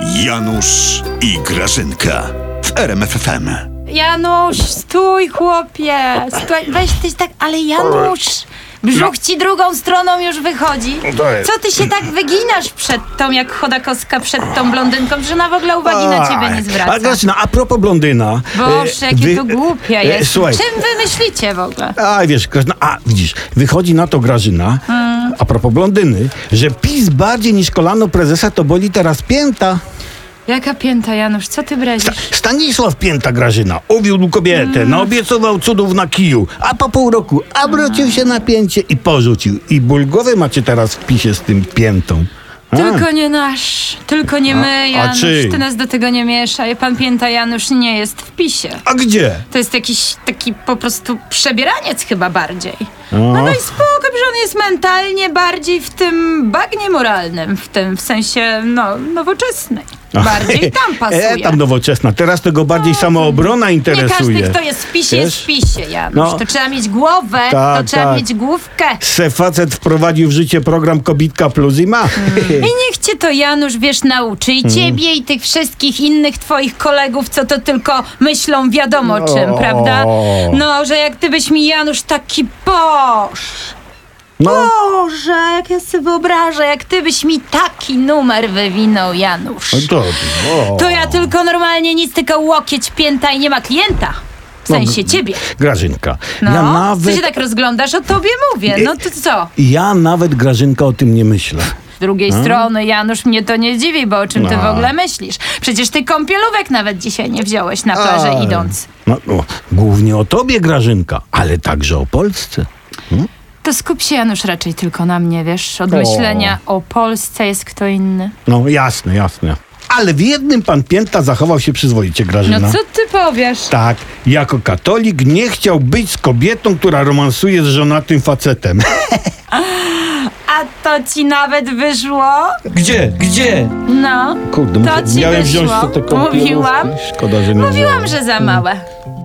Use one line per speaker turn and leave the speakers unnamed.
Janusz i Grażynka w RMFFM.
Janusz, stój chłopie! Stój, weź tyś tak, ale Janusz!
No.
Brzuch ci drugą stroną już wychodzi.
Daj.
Co ty się tak wyginasz przed tą, jak Chodakowska przed tą blondynką, że ona w ogóle uwagi na ciebie nie
A,
zwraca?
Grażyna, no, a propos blondyna.
Boże,
e,
jakie
wy-
to głupie
e,
jest.
Słuchaj,
Czym wy myślicie w ogóle?
a wiesz, Grażyna, a widzisz, wychodzi na to Grażyna,
Hmm.
a propos blondyny, że PiS bardziej niż kolano prezesa to boli teraz pięta.
Jaka pięta, Janusz, co ty brezisz?
Stanisław Pięta Grażyna uwiódł kobietę,
Hmm.
naobiecował cudów na kiju, a po pół roku obrócił się na pięcie i porzucił. I ból głowy macie teraz w pisie z tym piętą. A.
Tylko nie nasz, tylko nie my,
Hmm. a
Janusz.
czyj?
Ty nas do tego nie mieszaj. Pan pięta Janusz nie jest w pisie.
A gdzie?
To jest jakiś taki po prostu przebieraniec chyba bardziej. No, no i spoko, że on jest mentalnie bardziej w tym bagnie moralnym, w tym w sensie no, nowoczesnej. Bardziej tam pasuje.
No.
No.
E, tam nowoczesna. Teraz tego bardziej samoobrona
nie
interesuje.
każdy, kto jest w pisie, jest
Wiesz?
w pisie, Janusz.
No.
To trzeba mieć głowę, to
Tak,
trzeba
tak.
mieć główkę.
Se facet wprowadził w życie program Kobitka Plus i ma.
I niech cię to, Janusz, wiesz, nauczy.
Mhm.
I ciebie, i tych wszystkich innych twoich kolegów, co to tylko myślą wiadomo o czym,
No.
prawda? No, że jak ty byś mi, Janusz, taki boż.
No,
Boże, jak ja sobie wyobrażę, jak ty byś mi taki numer wywinął, Janusz.
to, o.
To ja tylko normalnie nic, tylko łokieć, pięta i nie ma klienta. W sensie ciebie.
Grażynka.
No,
No, Ja
ty się
nawet,
tak rozglądasz, o tobie mówię. No to co?
ja nawet Grażynka o tym nie myślę.
Z drugiej strony, Janusz, mnie to nie dziwi, bo o czym ty w
No.
ogóle myślisz? Przecież ty kąpielówek nawet dzisiaj nie wziąłeś na plażę
A.
idąc.
No, no, głównie o tobie, Grażynka, ale także o Polsce.
To skup się, Janusz, raczej tylko na mnie, wiesz? Od myślenia o Polsce jest kto inny.
No jasne, jasne. Ale w jednym pan Pięta zachował się przyzwoicie, Grażyna.
No co ty powiesz?
Tak, jako katolik nie chciał być z kobietą, która romansuje z żonatym facetem.
A to ci nawet wyszło?
Gdzie? Gdzie?
No.
Kurde,
To ci
miałem
wyszło.
wziąć to, to
Mówiłam.
Szkoda, że nie
Mówiłam,
wziąłem.
że za małe.